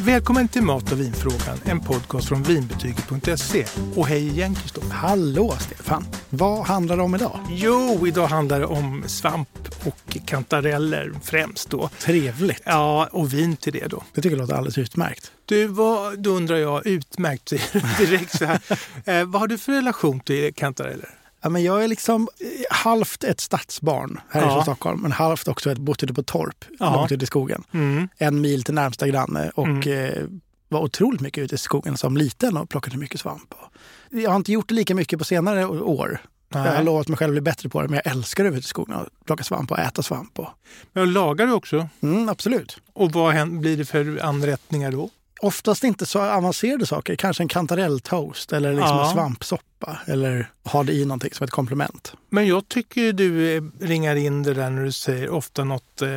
Välkommen till Mat och vinfrågan, en podcast från vinbetyget.se. Och hej igen Kristoffer. Hallå Stefan! Vad handlar det om idag? Jo, idag handlar det om svamp och kantareller främst då. Trevligt! Ja, och vin till det då. Det tycker jag låter alldeles utmärkt. Du, vad, då undrar jag, utmärkt direkt så här. eh, vad har du för relation till kantareller? Ja, men jag är liksom eh, halvt ett stadsbarn härifrån Ja. Stockholm, men halvt också ett bott ute på torp, Ja. långt ute i skogen. Mm. En mil till närmsta granne och eh, var otroligt mycket ute i skogen som liten och plockade mycket svamp. Och Jag har inte gjort det lika mycket på senare år. Jag har Nej. lovat mig själv att bli bättre på det, men jag älskar att vara ute i skogen och plocka svamp och äta svamp. Och, Men lagar du också? mm, absolut. Och vad hän- blir det för anrättningar då? oftast inte så avancerade saker. Kanske en kantarelltoast eller liksom Ja. en svampsoppa. Eller ha det i någonting som ett komplement. Men jag tycker ju du eh, ringar in det där när du säger ofta något eh,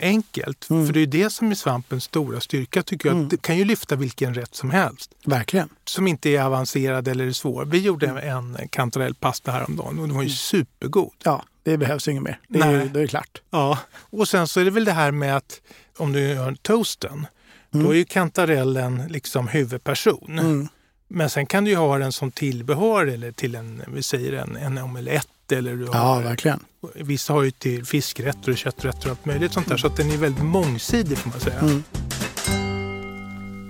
enkelt. Mm. För det är ju det som är svampens stora styrka tycker jag. Mm. Det kan ju lyfta vilken rätt som helst. Verkligen. Som inte är avancerad eller svår. Vi gjorde Mm. en kantarellpasta häromdagen och den var ju supergod. Ja, det behövs inget mer. Det är, Nej. ju, det är klart. Ja. Och sen så är det väl det här med att om du gör toasten, då är ju kantarellen liksom huvudperson. Mm. Men sen kan du ju ha den som tillbehör eller till en, vi säger en, en omelett eller du Ja, har verkligen. Vissa har ju till fiskrätter och kötträtter och allt möjligt sånt där. Så att den är väldigt mångsidig får man säga. Mm.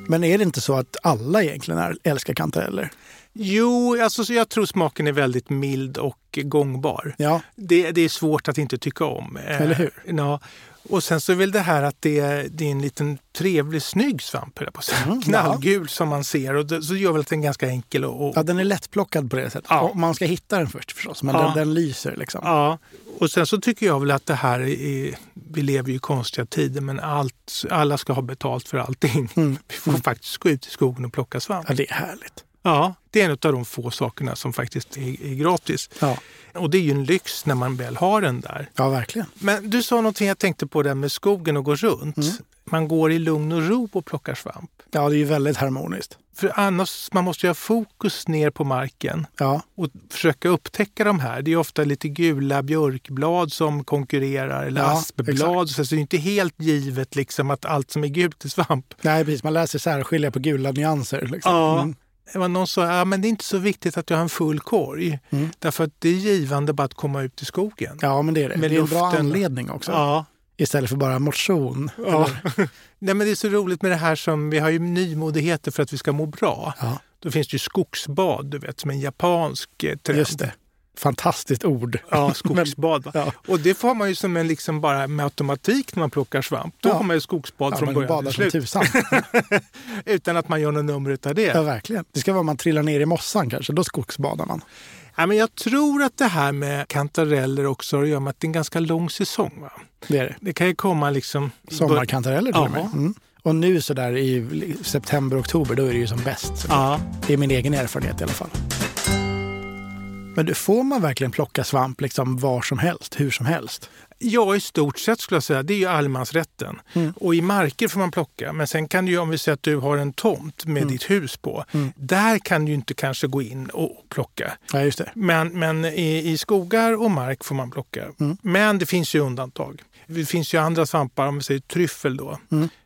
Men är det inte så att alla egentligen är- älskar kantareller? Jo, alltså, så jag tror smaken är väldigt mild och gångbar. Ja, Det, det är svårt att inte tycka om. Eh, Eller hur? Ja. Och sen så är väl det här att det, är- det är en liten trevlig snygg svamp, höll jag på att säga. Mm, ja. knallgul som man ser. Och det, så gör väl att den är ganska enkel. Och, och, ja ja. den är lättplockad på det sättet. Ja. Och man ska hitta den först förstås, men Ja. den, den lyser liksom. och sen så tycker jag väl att det här är, vi lever ju i konstiga tider men allt, alla ska ha betalt för allting. Mm. Vi får faktiskt gå ut i skogen och plocka svamp. Ja, det är härligt. Ja, det är en av de få sakerna som faktiskt är, är gratis. Ja, Och det är ju en lyx när man väl har den där. ja verkligen. Men du sa någonting jag tänkte på där med skogen och gå runt. Man går i lugn och ro och plockar svamp. Ja, det är ju väldigt harmoniskt. För annars, man måste ju ha fokus ner på marken Ja, och försöka upptäcka de här. Det är ofta lite gula björkblad som konkurrerar, eller Ja, aspblad. Så det är ju inte helt givet liksom att allt som är gult är svamp. nej precis. Man lär sig särskilja på gula nyanser. Liksom. Ja. Mm. Det var någon som sa ja, men det är inte så viktigt att jag har en full korg. Mm. Därför att det är givande bara att komma ut i skogen. Ja, men det är det. Med det är en bra luften. anledning också. Ja. Istället för bara motion. Ja. Nej, men det är så roligt med det här som, vi har ju nymodigheter för att vi ska må bra. Ja, Då finns det ju skogsbad, du vet, som en japansk eh, trend. just det. Fantastiskt ord. Ja, skogsbad. va? Ja. Och det får man ju som en liksom bara med automatik när man plockar svamp. Då Ja. har man ju skogsbad Ja, från man början badar till som typ- slut. tusan. Utan att man gör något nummer av det. Ja, verkligen. Det ska vara om man trillar ner i mossan kanske, då skogsbadar man. Ja, men jag tror att det här med kantareller också har att göra med att det är en ganska lång säsong. Va? Det är det. Det kan ju komma liksom... i bör- Sommarkantareller till och Ja. med. Mm. Och nu så där i september, oktober, då är det ju som bäst. Så Ja. Det är min egen erfarenhet i alla fall. Men du, får man verkligen plocka svamp liksom var som helst, hur som helst? Ja, i stort sett skulle jag säga. Det är ju allemansrätten. Och i marker får man plocka. Men sen kan du ju, om vi säger att du har en tomt med ditt hus på. Där kan du ju inte kanske gå in och plocka. Ja, just det. Men, men i, i skogar och mark får man plocka. Men det finns ju undantag. Det finns ju andra svampar, om vi säger tryffel då,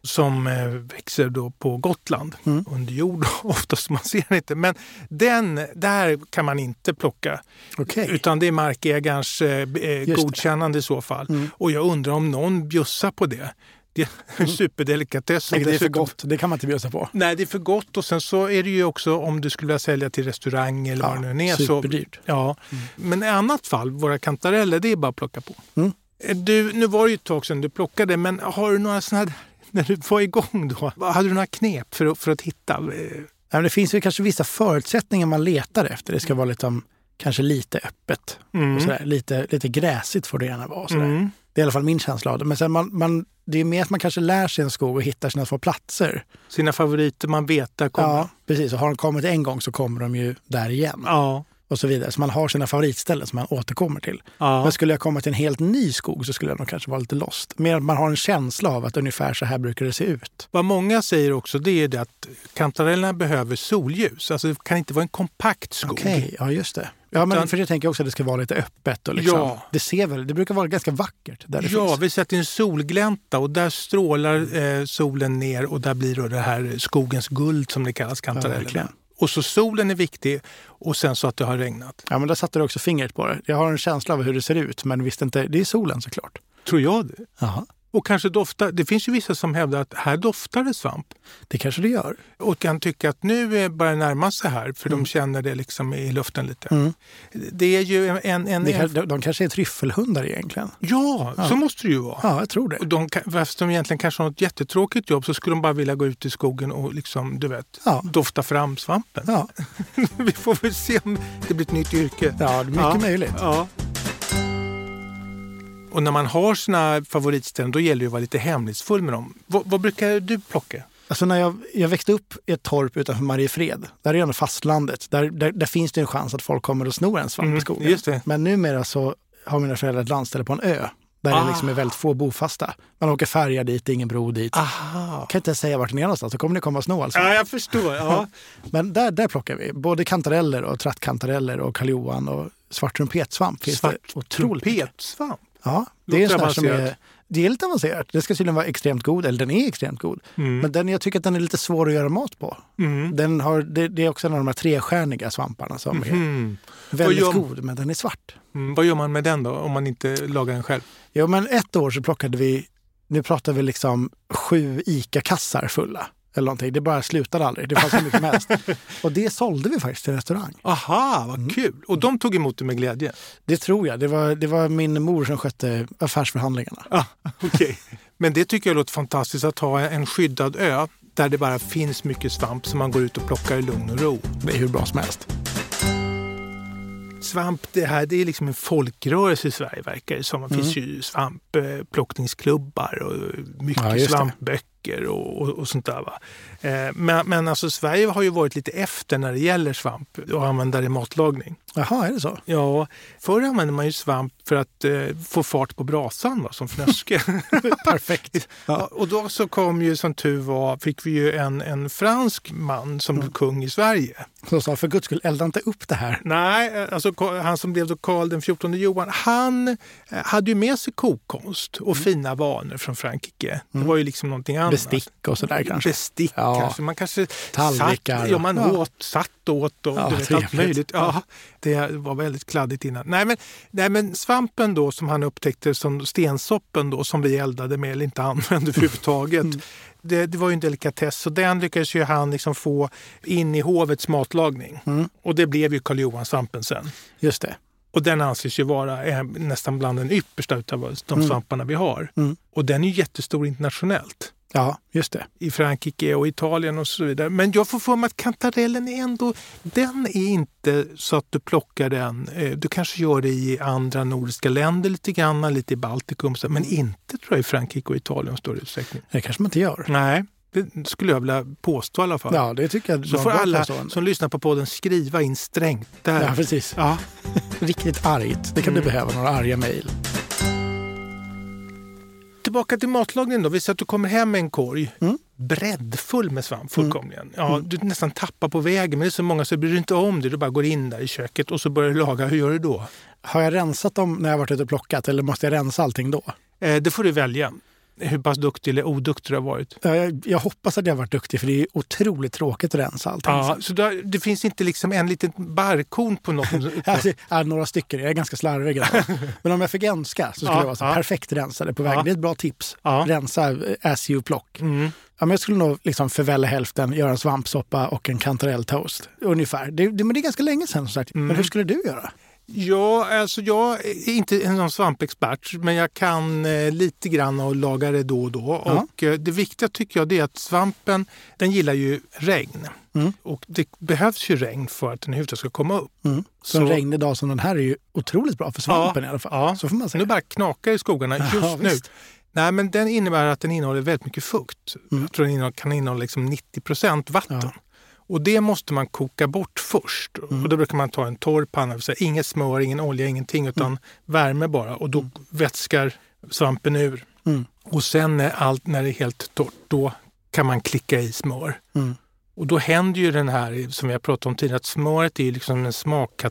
som eh, växer då på Gotland. Under jord oftast, man ser den inte. Men den, där kan man inte plocka. Okej. Utan det är markägarens eh, eh, det. Mm. godkännande i så fall. Och jag undrar om någon bjussar på det. Det är en superdelikatess. Nej, Det är för Dessutom- gott, det kan man inte bjussa på. Nej, det är för gott och sen så är det ju också om du skulle vilja sälja till restaurang eller vad det nu är. Så, superdyrt. ja. Men i annat fall, våra kantareller, det är bara att plocka på. Eh, Mm. Du, nu var det ju ett tag sedan du plockade, men har du några sådana här, när du var igång då, vad- hade du några knep för, att- för att hitta? Eh, Ja, men det finns ju kanske vissa förutsättningar man letar efter. Det ska Mm. vara liksom, kanske lite öppet. Och sådär. Lite, lite gräsigt får det gärna vara. och Sådär. Mm. Det är i alla fall min känsla av det. Men sen man, man, det är mer att man kanske lär sig en skog och hittar sina små platser. Sina favoriter man vet där kommer. Ja, precis. Och har de kommit en gång så kommer de ju där igen. ja. Och så vidare. Så man har sina favoritställen som man återkommer till. ja. Men skulle jag komma till en helt ny skog så skulle jag nog kanske vara lite lost. Mer att man har en känsla av att ungefär så här brukar det se ut. Vad många säger också det är det att kantarellerna behöver solljus. Alltså det kan inte vara en kompakt skog. Okej, ja just det. Ja, men Utan- för det tänker jag också att det ska vara lite öppet. Och liksom. Ja. det, ser väl, det brukar vara ganska vackert där det Ja, finns. vi sätter en solglänta och där strålar eh, solen ner och där blir då det här skogens guld som det kallas, kantarellerna. verkligen. och så solen är viktig och sen så att det har regnat. Ja, men där satte du också fingret på det. Jag har en känsla av hur det ser ut, men visst inte. Det är solen såklart. Tror jag det. Aha. Och kanske doftar, det finns ju vissa som hävdar att här doftar det svamp. Det kanske det gör. och kan tycka att nu eh, börjar det närma sig här för de känner det liksom i luften lite. Mm. Det är ju en... en, en Det kan, de, de kanske är tryffelhundar egentligen. ja, så måste det ju vara. Ja, jag tror det. Och de, kan- fast de egentligen kanske har ett jättetråkigt jobb så skulle de bara vilja gå ut i skogen och liksom, du vet, Ja. dofta fram svampen. Ja, Vi får väl se om det blir ett nytt yrke. ja mycket Ja. möjligt. Ja. Och när man har sina favoritställen då gäller det att vara lite hemlighetsfull med dem. Vad, vad brukar du plocka? Alltså när jag, jag växte upp i ett torp utanför Mariefred, där är ändå fastlandet. Där, där, där finns det en chans att folk kommer och snor en svamp i Mm, skogen. just det. Men numera så har mina föräldrar ett landställe på en ö där Ah. det liksom är väldigt få bofasta. Man åker färja dit, det är ingen bro dit. Aha. Jag kan inte ens säga vart ni är någonstans, så kommer ni komma och sno alltså. Ja, jag förstår. Ja. Men där, där plockar vi. Både kantareller och trattkantareller och karl och svart trumpetsvamp. Finns Svart det otroligt mycket. Trumpetsvamp. Ja, det Låter är, en sån här som är, avancerat. det är lite avancerat. Det ska tydligen vara extremt god, eller den är extremt god. Mm. Men den, jag tycker att den är lite svår att göra mat på. Den har, det, det är också en av de här trestjärniga svamparna som Mm. är väldigt Och jag- god, men den är svart. Mm, vad gör man med den då om man inte lagar den själv? Jo, men ett år så plockade vi, nu pratar vi liksom sju ICA-kassar fulla. Eller någonting. Det bara slutade aldrig. Det fanns hur mycket som helst. Och det sålde vi faktiskt till en restaurang. Aha, vad kul! Mm. Och de tog emot det med glädje? Det tror jag. Det var, det var min mor som skötte affärsförhandlingarna. Ah, okay. Men det tycker jag låter fantastiskt att ha en skyddad ö där det bara finns mycket svamp som man går ut och plockar i lugn och ro. Det är hur bra som helst. Svamp, det här det är liksom en folkrörelse i Sverige verkar det som. Det finns Mm. ju svampplockningsklubbar och mycket Ja, just det. svampböcker och, och, och sånt där. Va? Eh, men men alltså, Sverige har ju varit lite efter när det gäller svamp och använda det i matlagning. Jaha, är det så? Ja, förr använde man ju svamp för att eh, få fart på brasan va, som fnöske. Perfekt. Ja, och då så kom ju som tur var, fick vi ju en, en fransk man som blev kung i Sverige. Som sa, för guds skull, elda inte upp det här. Nej, eh, alltså Ka- han som blev då Karl den 14 Johan, han eh, hade ju med sig kokkonst och fina vanor från Frankrike. Det var ju liksom någonting annat. Bestick och sådär kanske. Bestick Ja. kanske. Man kanske Tallrikar. satt, ja, man Ja. åt, satt åt och Ja, du vet, allt trevligt. möjligt. Ja, det var väldigt kladdigt innan. Nej men, nej, men svampen då som han upptäckte som stensoppen då som vi eldade med eller inte använde överhuvudtaget. Mm. Det, det var ju en delikatess så den lyckades ju han liksom få in i hovets matlagning. Mm. Och det blev ju Karl Johan-svampen sen. Just det. Och den anses ju vara eh, nästan bland den yppersta utav de svamparna vi har. Mm. Och den är ju jättestor internationellt Ja, just det. i Frankrike och Italien och så vidare. Men jag får för mig att kantarellen är ändå, den är inte så att du plockar den. Eh, Du kanske gör det i andra nordiska länder lite grann, lite i Baltikum, så- men inte tror jag i Frankrike och Italien i större utsträckning. Det kanske man inte gör. Nej, det skulle jag vilja påstå i alla fall. Ja, det tycker jag. så var får bra alla påstående. som lyssnar på podden skriva in strängt där. Ja, Mm. precis. Ja. Riktigt argt. Det kan du behöva, några arga mejl. Tillbaka till matlagningen då. Vi säger att du kommer hem med en korg breddfull med svamp fullkomligen. Ja, du nästan tappar på vägen men det är så många så bryr du inte om det. Du bara går in där i köket och så börjar du laga. Hur gör du då? Har jag rensat dem när jag varit ute och plockat eller måste jag rensa allting då? Eh, det får du välja. Hur pass duktig eller oduktig du har varit. Ja, Jag, jag hoppas att jag har varit duktig för det är ju otroligt tråkigt att rensa allting. Ja, så du har, det finns inte liksom en liten barkorn på något. Alltså, ja, några stycken, jag är ganska slarvig. idag. Men om jag fick önska så skulle Ja, jag vara så ja. perfekt rensade på vägen. Ja. Det är ett bra tips. Ja. Rensa eh, as you plock. Mm. Ja, men jag skulle nog liksom förvälla hälften, göra en svampsoppa och en kantarelltoast. Ungefär. Det, det, men det är ganska länge sedan som sagt. Men hur skulle du göra? Ja, alltså jag är inte någon svampexpert men jag kan eh, lite grann och laga det då och då. Ja. Och, eh, det viktiga tycker jag det är att svampen den gillar ju regn. Mm. Och det behövs ju regn för att den överhuvudtaget ska komma upp. Mm. Så, en regnig dag som den här är ju otroligt bra för svampen Ja, i alla fall. ja. Så får man Alltså, säga. Nu bara knakar det i skogarna just Ja, nu. visst. Nej, men den innebär att den innehåller väldigt mycket fukt. Mm. Jag tror den innehåller, kan innehålla liksom 90 procent vatten. Och det måste man koka bort först. Mm. Och då brukar man ta en torr panna, det vill säga inget smör, ingen olja, ingenting utan Mm. värme bara. Och då vätskar svampen ur. Mm. Och sen när, allt, när det är helt torrt, då kan man klicka i smör. Mm. Och då händer ju den här som vi har pratat om tidigare, att smöret är liksom en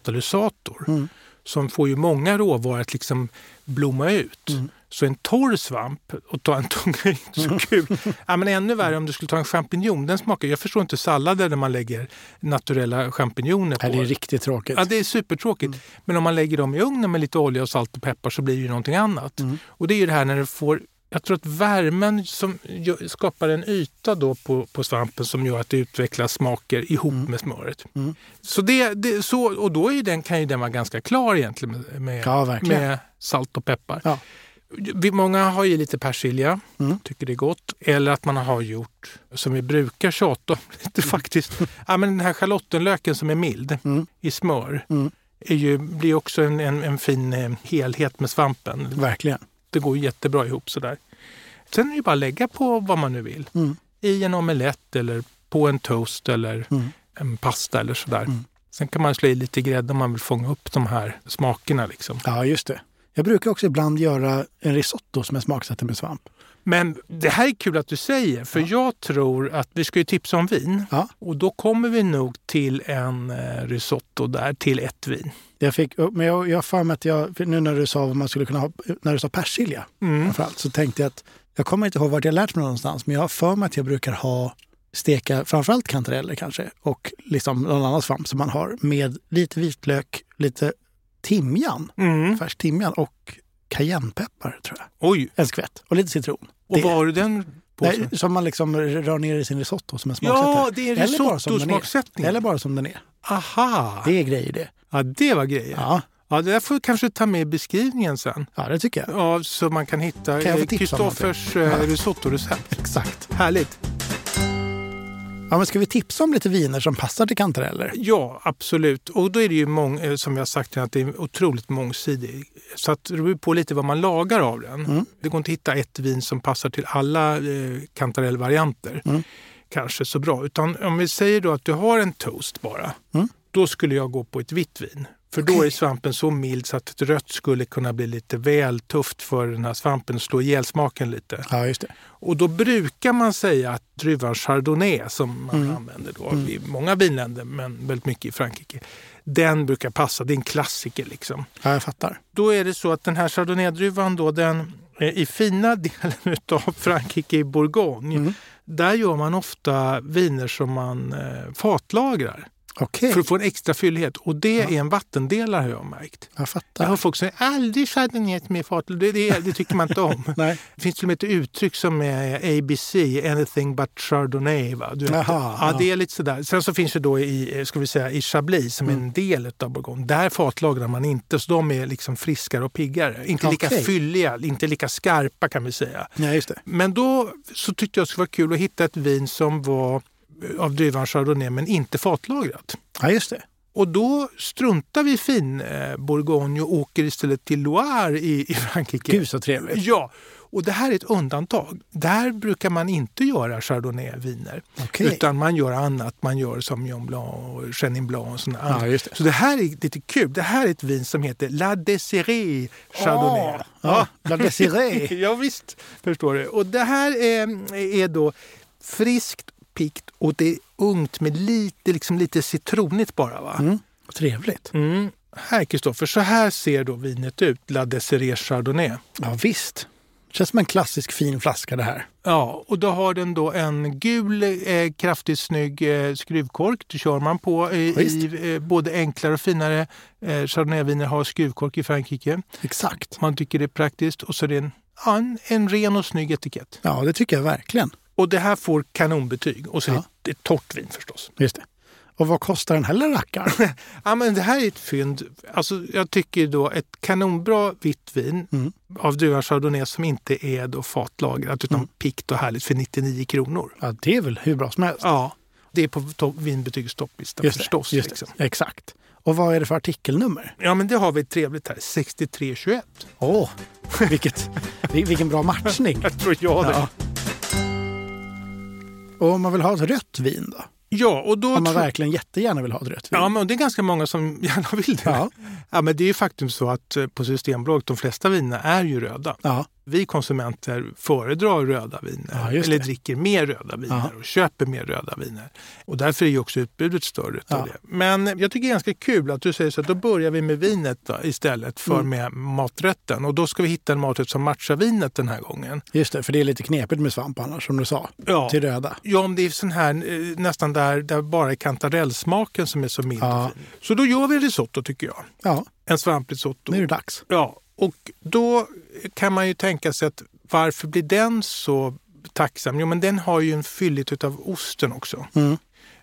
smakkatalysator Mm. som får ju många råvaror att liksom blomma ut. Mm. Så en torr svamp, och ta en tunga är inte så kul. Ja, men ännu värre om du skulle ta en champinjon. Den smakar, jag förstår inte sallader där man lägger naturella champinjoner på. Nej, det är riktigt tråkigt. Mm. Ja, det är supertråkigt. Men om man lägger dem i ugnen med lite olja och salt och peppar så blir det ju någonting annat. Mm. Och det är ju det här när du får jag tror att värmen som gör- skapar en yta då på, på svampen som gör att det utvecklas smaker ihop med smöret. Mm. Så det, det, så, och då är ju den, kan ju den vara ganska klar egentligen med, med, Ja, verkligen. med salt och peppar. Ja. Vi, många har ju lite persilja, Mm. tycker det är gott. Eller att man har gjort, som vi brukar tjata om lite faktiskt, ja, men den här schalottenlöken som är mild Mm. i smör Mm. är ju, blir också en, en, en fin eh, helhet med svampen. Verkligen. Det går ju jättebra ihop sådär. Sen är det ju bara att lägga på vad man nu vill. Mm. I en omelett eller på en toast eller Mm. en pasta eller sådär. Mm. Sen kan man slå i lite grädde om man vill fånga upp de här smakerna. Liksom. Ja, just det. Jag brukar också ibland göra en risotto som är smaksatt med svamp. Men det här är kul att du säger, för jag tror att vi ska ju tipsa om vin. Ja. Och då kommer vi nog till en eh, risotto där, till ett vin. Jag fick, men jag, jag har för mig att jag, för nu när du sa vad man skulle kunna ha, när du sa persilja Mm. framförallt, så tänkte jag att jag kommer inte ihåg vart jag lärt mig någonstans, men jag har för mig att jag brukar ha steka framförallt kantareller kanske och liksom någon annan svamp som man har med lite vitlök, lite timjan, Mm. färsk timjan och cayennepeppar tror jag. Oj, En skvätt och lite citron. och Det- var har du den påsen? Nej, som man liksom rör ner i sin risotto som en smaksättare. Ja, det är Eller bara som den är. risotto-smaksättning. Eller bara som den är. Aha! Det är grejer det. Ja, det var grejer. Ja. Ja, det där får vi kanske ta med i beskrivningen sen. ja det tycker jag. Ja, så man kan hitta Kan jag få eh, tips om någonting? Kristoffers eh, risottorecept. Exakt. Härligt! Ja, men ska vi tipsa om lite viner som passar till kantareller? Ja, absolut. Och då är det ju mång, eh, som jag sagt, att det är otroligt mångsidig. Så att det beror på lite vad man lagar av den. Det går inte att hitta ett vin som passar till alla eh, kantarellvarianter. Kanske så bra. Utan om vi säger då att du har en toast bara. Då skulle jag gå på ett vitt vin. För då Okej. är svampen så mild så att ett rött skulle kunna bli lite väl tufft för den här svampen och slå ihjäl smaken lite. Ja, just det. Och då brukar man säga att druvan chardonnay som man använder då i många vinländer, men väldigt mycket i Frankrike, den brukar passa. Det är en klassiker liksom. Ja, jag fattar. Då är det så att den här chardonnay-druvan då, den eh, i fina delen av Frankrike, i Bourgogne, Mm. där gör man ofta viner som man eh, fatlagrar Okej, för att få en extra fyllighet. Och det är en vattendelare har jag märkt. jag Jag fattar. har folk som säger aldrig chardonnay som är fatlagd. Det, det, det tycker man inte om. Nej. Det finns till och med ett uttryck som är ABC, anything but chardonnay. Va? Du vet, Jaha, ja, ja. det är lite sådär. Sen så finns det då i, eh, ska vi säga, i Chablis som Mm. är en del av Bourgogne. Där fatlagrar man inte, så de är liksom friskare och piggare. Inte lika Okej. fylliga, inte lika skarpa kan vi säga. Ja, just det. Men då så tyckte jag det skulle vara kul att hitta ett vin som var eh, av druvan chardonnay men inte fatlagrat. Ja, just det. Och då struntar vi i fin eh, Bourgogne och åker istället till Loire i, i Frankrike. Gud så trevligt. Ja, och det här är ett undantag. Där brukar man inte göra chardonnay-viner. Okej. Utan man gör annat. Man gör Sauvignon Blanc och Chenin Blanc och sådana andra. just det. Så det här är lite kul. Det här är ett vin som heter La Désirée Chardonnay. Ah, ja. La Désirée. ja, visst, förstår du. Och det här är, är då friskt, pikt och det är ungt med lite, liksom lite citronigt bara. Va? Mm. Trevligt. Mm. Här Kristoffer, så här ser då vinet ut, La Désirée Chardonnay. Ja, visst. Känns som en klassisk fin flaska det här. Ja, och då har den då en gul, eh, kraftigt snygg eh, skruvkork. Det kör man på i, Ja, visst. i eh, både enklare och finare eh, chardonnayviner har skruvkork i Frankrike. Exakt. Man tycker det är praktiskt och så är det en, ja, en, en ren och snygg etikett. Ja, det tycker jag verkligen. Och det här får kanonbetyg. Och så är Ja. det ett torrt vin förstås. Just det. Och vad kostar den här lilla rackaren? Ja, men det här är ett fynd. Alltså, jag tycker då ett kanonbra vitt vin Mm. av druvan chardonnay som inte är då fatlagrat utan Mm. pikt och härligt för 99 kronor. Ja, det är väl hur bra som helst. Ja, det är på to- vinbetygsstopplistan just det. förstås. just det. liksom. Exakt. Och vad är det för artikelnummer? Ja, men det har vi trevligt här. 6321. Åh, vilket, vil- vilken bra matchning. Jag tror jag det. Ja, Ja. Och om man vill ha ett rött vin då? och då... Om man tror- verkligen jättegärna vill ha ett rött vin? Ja, men det är ganska många som gärna vill det. Ja. Ja, men det är ju faktum så att eh, på Systembolaget, de flesta vinerna är ju röda. Ja, vi konsumenter föredrar röda viner Ja, just eller det. dricker mer röda viner Ja. och köper mer röda viner. Och därför är ju också utbudet större. utav Ja. Det. Men jag tycker det är ganska kul att du säger så att då börjar vi med vinet då, istället för Mm. med maträtten. Och då ska vi hitta en maträtt som matchar vinet den här gången. Just det, för det är lite knepigt med svamp annars, som du sa. Ja. Till röda. Ja, om det är sån här, eh, nästan där, där bara är kantarellsmaken som är så mild. och Ja. fin. Så då gör vi risotto tycker jag. Ja, En svamprisotto. nu är det dags. Ja, och då kan man ju tänka sig att varför blir den så tacksam? Jo, men den har ju en fyllighet utav osten också. Mm.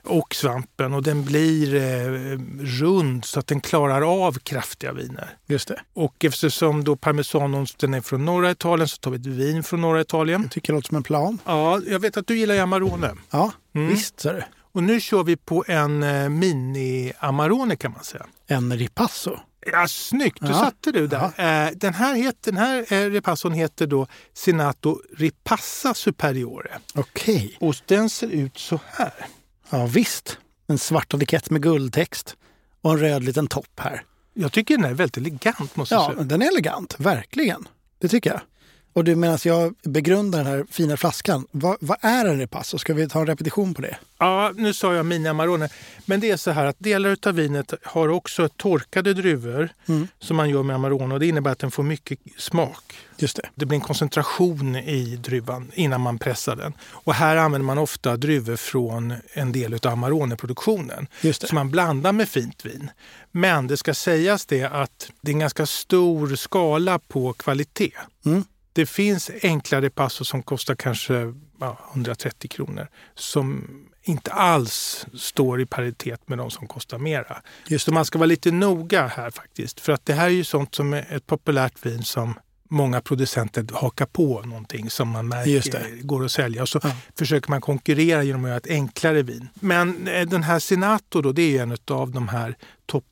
Och svampen och den blir eh, rund så att den klarar av kraftiga viner. Just det. Och eftersom då parmesanosten är från norra Italien så tar vi ett vin från norra Italien. Jag tycker det låter som en plan. Ja, jag vet att du gillar ju Amarone. Ja, Mm. visst ser du. Och nu kör vi på en eh, mini-Amarone kan man säga. En ripasso. Ja, snyggt! Du Ja. satte du där. Eh, Den här, heter, den här eh, repasson heter då Senato Ripassa Superiore. Okej. Och den ser ut så här. Ja, visst. En svart etikett med guldtext och en röd liten topp här. Jag tycker den är väldigt elegant måste jag Ja, säga. den är elegant. Verkligen. Det tycker jag. Och du, medan jag begrundar den här fina flaskan, vad, vad är en ripasso? Ska vi ta en repetition på det? Ja, nu sa jag mini Amarone. Men det är så här att delar av vinet har också torkade druvor som man gör med Amarone. Och det innebär att den får mycket smak. Just det. Det blir en koncentration i druvan innan man pressar den. Och här använder man ofta druvor från en del av Amarone-produktionen Just det. som man blandar med fint vin. Men det ska sägas det att det är en ganska stor skala på kvalitet. Mm. Det finns enklare passos som kostar kanske ja, 130 kronor som inte alls står i paritet med de som kostar mera. Just Så man ska vara lite noga här faktiskt. För att det här är ju sånt som är ett populärt vin som många producenter hakar på någonting som man Just märker det. går att sälja. Och så Ja. försöker man konkurrera genom att göra ett enklare vin. Men eh, den här Senato då, det är ju en av de här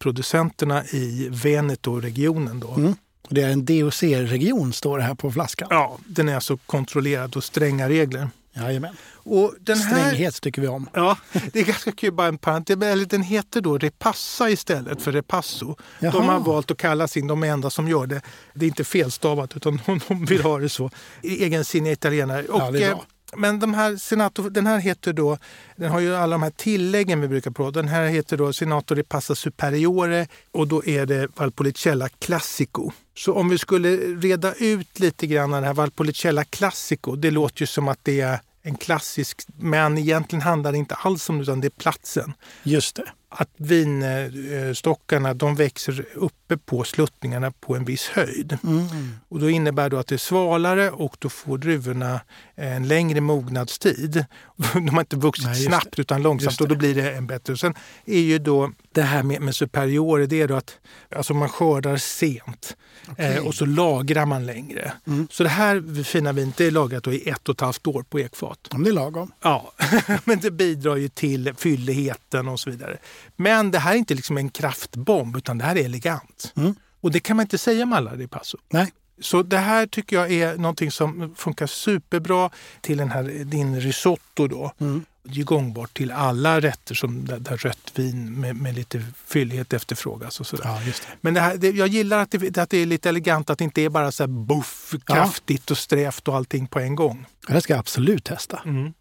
topproducenterna i Veneto-regionen. Då. Mm. Och Det är en DOC-region står det här på flaskan. Ja, den är alltså kontrollerad och stränga regler. Jajamän. Och den här, Stränghet tycker vi om. Ja, det är ganska kul, bara en parentes. men Eller den heter då Repassa istället för Repasso. Jaha. De har valt att kalla sin, de är enda som gör det. Det är inte felstavat utan de, de vill ha det så. Egensinniga italienare. Ja, det är eh, bra. men de här senato, den här heter då, den har ju alla de här tilläggen vi brukar prata Den här heter då Senato Repassa Superiore och då är det Valpolicella Classico. Så om vi skulle reda ut lite grann den här Valpolicella Classico, det låter ju som att det är en klassisk, men egentligen handlar det inte alls om det utan det är platsen. Just det. Att vinstockarna de växer uppe på sluttningarna på en viss höjd. Mm. Och då innebär det att det är svalare och då får druvorna en längre mognadstid. De har inte vuxit Nej, just snabbt utan Just långsamt det. och då blir det en bättre. Och sen är ju då det här med, med superiore, det är då att alltså man skördar sent Okej. eh, och så lagrar man längre. Mm. Så det här fina vinet det är lagrat då i ett och ett halvt år på ekfat. Om det är lagom. Ja, men det bidrar ju till fylligheten och så vidare. Men det här är inte liksom en kraftbomb, utan det här är elegant. Mm. Och det kan man inte säga om alla ripasso. Nej. Så det här tycker jag är någonting som funkar superbra till den här, din risotto. Då. Mm. Det är gångbart till alla rätter som där, där rött vin med, med lite fyllighet efterfrågas. Och sådär. Ja, just det. Men det här, det, jag gillar att det, att det är lite elegant, att det inte är bara så här buff, kraftigt och strävt och allting på en gång. Ja, Det ska jag absolut testa. Mm.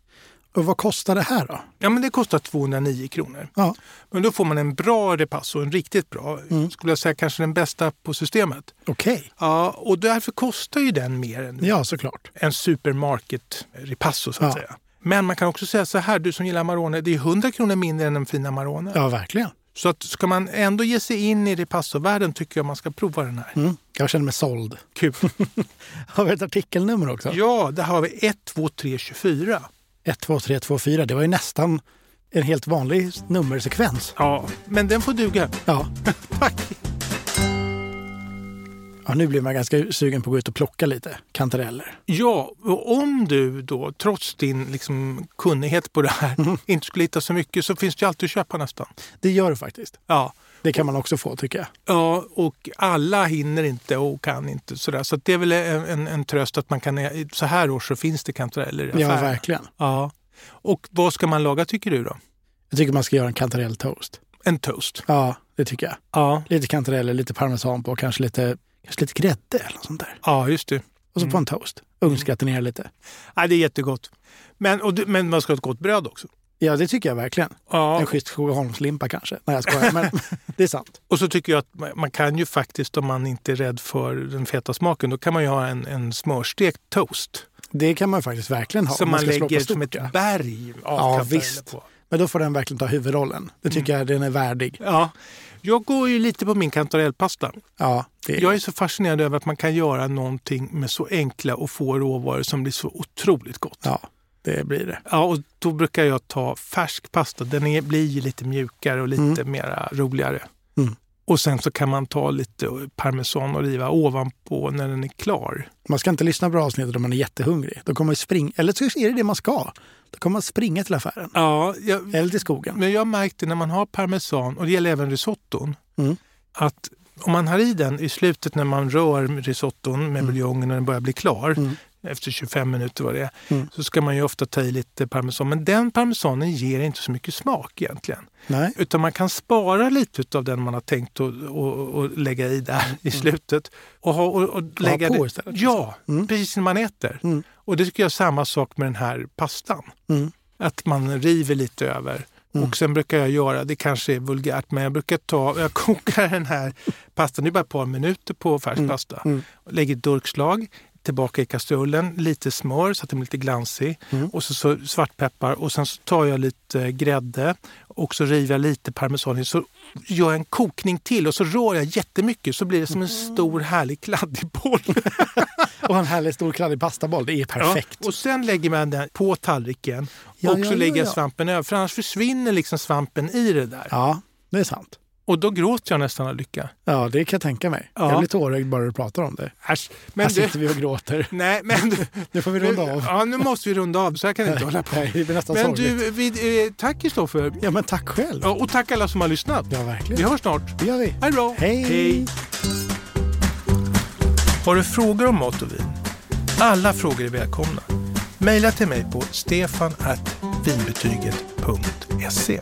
Och vad kostar det här då? Ja, men det kostar 209 kronor. Ja, Men då får man en bra repasso, en riktigt bra. Mm. Skulle jag säga kanske den bästa på systemet. okej. Ja, och därför kostar ju den mer än Ja, såklart. en supermarket repasso så att Ja. säga. Men man kan också säga så här, du som gillar Amarone, det är 100 kronor mindre än en fin Amarone. Ja, verkligen. Så att ska man ändå ge sig in i repassovärlden tycker jag man ska prova den här. Mm. Jag känner mig såld. Kul! Har vi ett artikelnummer också? Ja, där har vi 1, 2, 3, 24. 1, 2, 3, 2, 4. Det var ju nästan en helt vanlig nummersekvens. Ja, men den får duga. Ja. Tack! ja, nu blir man ganska sugen på att gå ut och plocka lite kantareller. Ja, och om du då trots din liksom, kunnighet på det här Mm. inte skulle hitta så mycket så finns det ju alltid att köpa nästan. Det gör du faktiskt. Ja. Det kan man också få tycker jag. ja, och alla hinner inte och kan inte. Sådär. Så att det är väl en, en, en tröst att man kan, så här års så finns det kantareller i Ja, affärerna. verkligen. Ja. Och vad ska man laga tycker du då? Jag tycker man ska göra en kantarelltoast. En toast? Ja, det tycker jag. Ja, Lite kantareller, lite parmesan på, kanske lite, kanske lite grädde eller något sånt där. ja just det. Och så på en toast. Ugnsgratinera lite. Nej, det är jättegott. Men, och du, men man ska ha ett gott bröd också. Ja, det tycker jag verkligen. Ja. En schysst Skogaholmslimpa kanske. Nej, jag skojar. Men det är sant. Och så tycker jag att ma- man kan ju faktiskt, om man inte är rädd för den feta smaken, då kan man ju ha en, en smörstekt toast. Det kan man faktiskt verkligen ha. som om man, ska slå på lägger som stort, ett ja. berg av Ja, kantareller visst. Men då får den verkligen ta huvudrollen. Det Mm. tycker jag den är värdig. Ja. Jag går ju lite på min kantarellpasta. Ja, det är... Jag är så fascinerad över att man kan göra någonting med så enkla och få råvaror som blir så otroligt gott. ja, det blir det. Ja, och då brukar jag ta färsk pasta. Den är, blir ju lite mjukare och lite mera roligare. Mm. Och sen så kan man ta lite parmesan och riva ovanpå när den är klar. Man ska inte lyssna på det här avsnittet om man är jättehungrig. Då kommer man springa. Eller så är det det man ska. Då kommer man springa till affären. Ja, jag, Eller till skogen. men jag märkte när man har parmesan, och det gäller även risotton, Mm. att om man har i den i slutet när man rör risotton med buljongen när den börjar bli klar, Mm. efter 25 minuter var det är, Mm. så ska man ju ofta ta i lite parmesan. Men den parmesanen ger inte så mycket smak egentligen. Nej. Utan man kan spara lite av den man har tänkt att och, och lägga i där i slutet. Och, ha, och, och lägga Mm. på det. istället, Ja, Mm. precis när man äter. Mm. Och det tycker jag är samma sak med den här pastan. Mm. Att man river lite över. Och sen brukar jag göra, det kanske är vulgärt, men jag brukar ta, jag kokar den här pastan, det är bara ett par minuter på färsk pasta. Mm. Lägger ett durkslag, tillbaka i kastrullen, lite smör så att den blir lite glansig. Mm. Och så, så svartpeppar och sen så tar jag lite grädde och så river jag lite parmesan i. Så gör jag en kokning till och så rör jag jättemycket så blir det som en Mm. stor härlig kladdig boll. Och en härlig stor kladdig pastaboll. Det är perfekt. Ja, och sen lägger man den på tallriken Ja, och ja, så ja, lägger jag ja. svampen över. För annars försvinner liksom svampen i det där. Ja, det är sant. Och då gråter jag nästan av lycka. Ja, det kan jag tänka mig. Ja. Jag blir tårögd bara du pratar om det. Äsch. Här Men du, sitter vi och gråter. nej, men du, Nu får vi runda av. Ja, nu måste vi runda av så här kan det inte hålla på. Nej, det blir nästan Men sorgligt. du, vi, eh, tack Kristoffer. Ja, men tack själv. Ja, och tack alla som har lyssnat. Ja, Vi verkligen. hörs snart. Det gör vi. Hej då! Hej. Har du frågor om mat och vin? Alla frågor är välkomna. Mejla till mig på stefanvinbetyget.se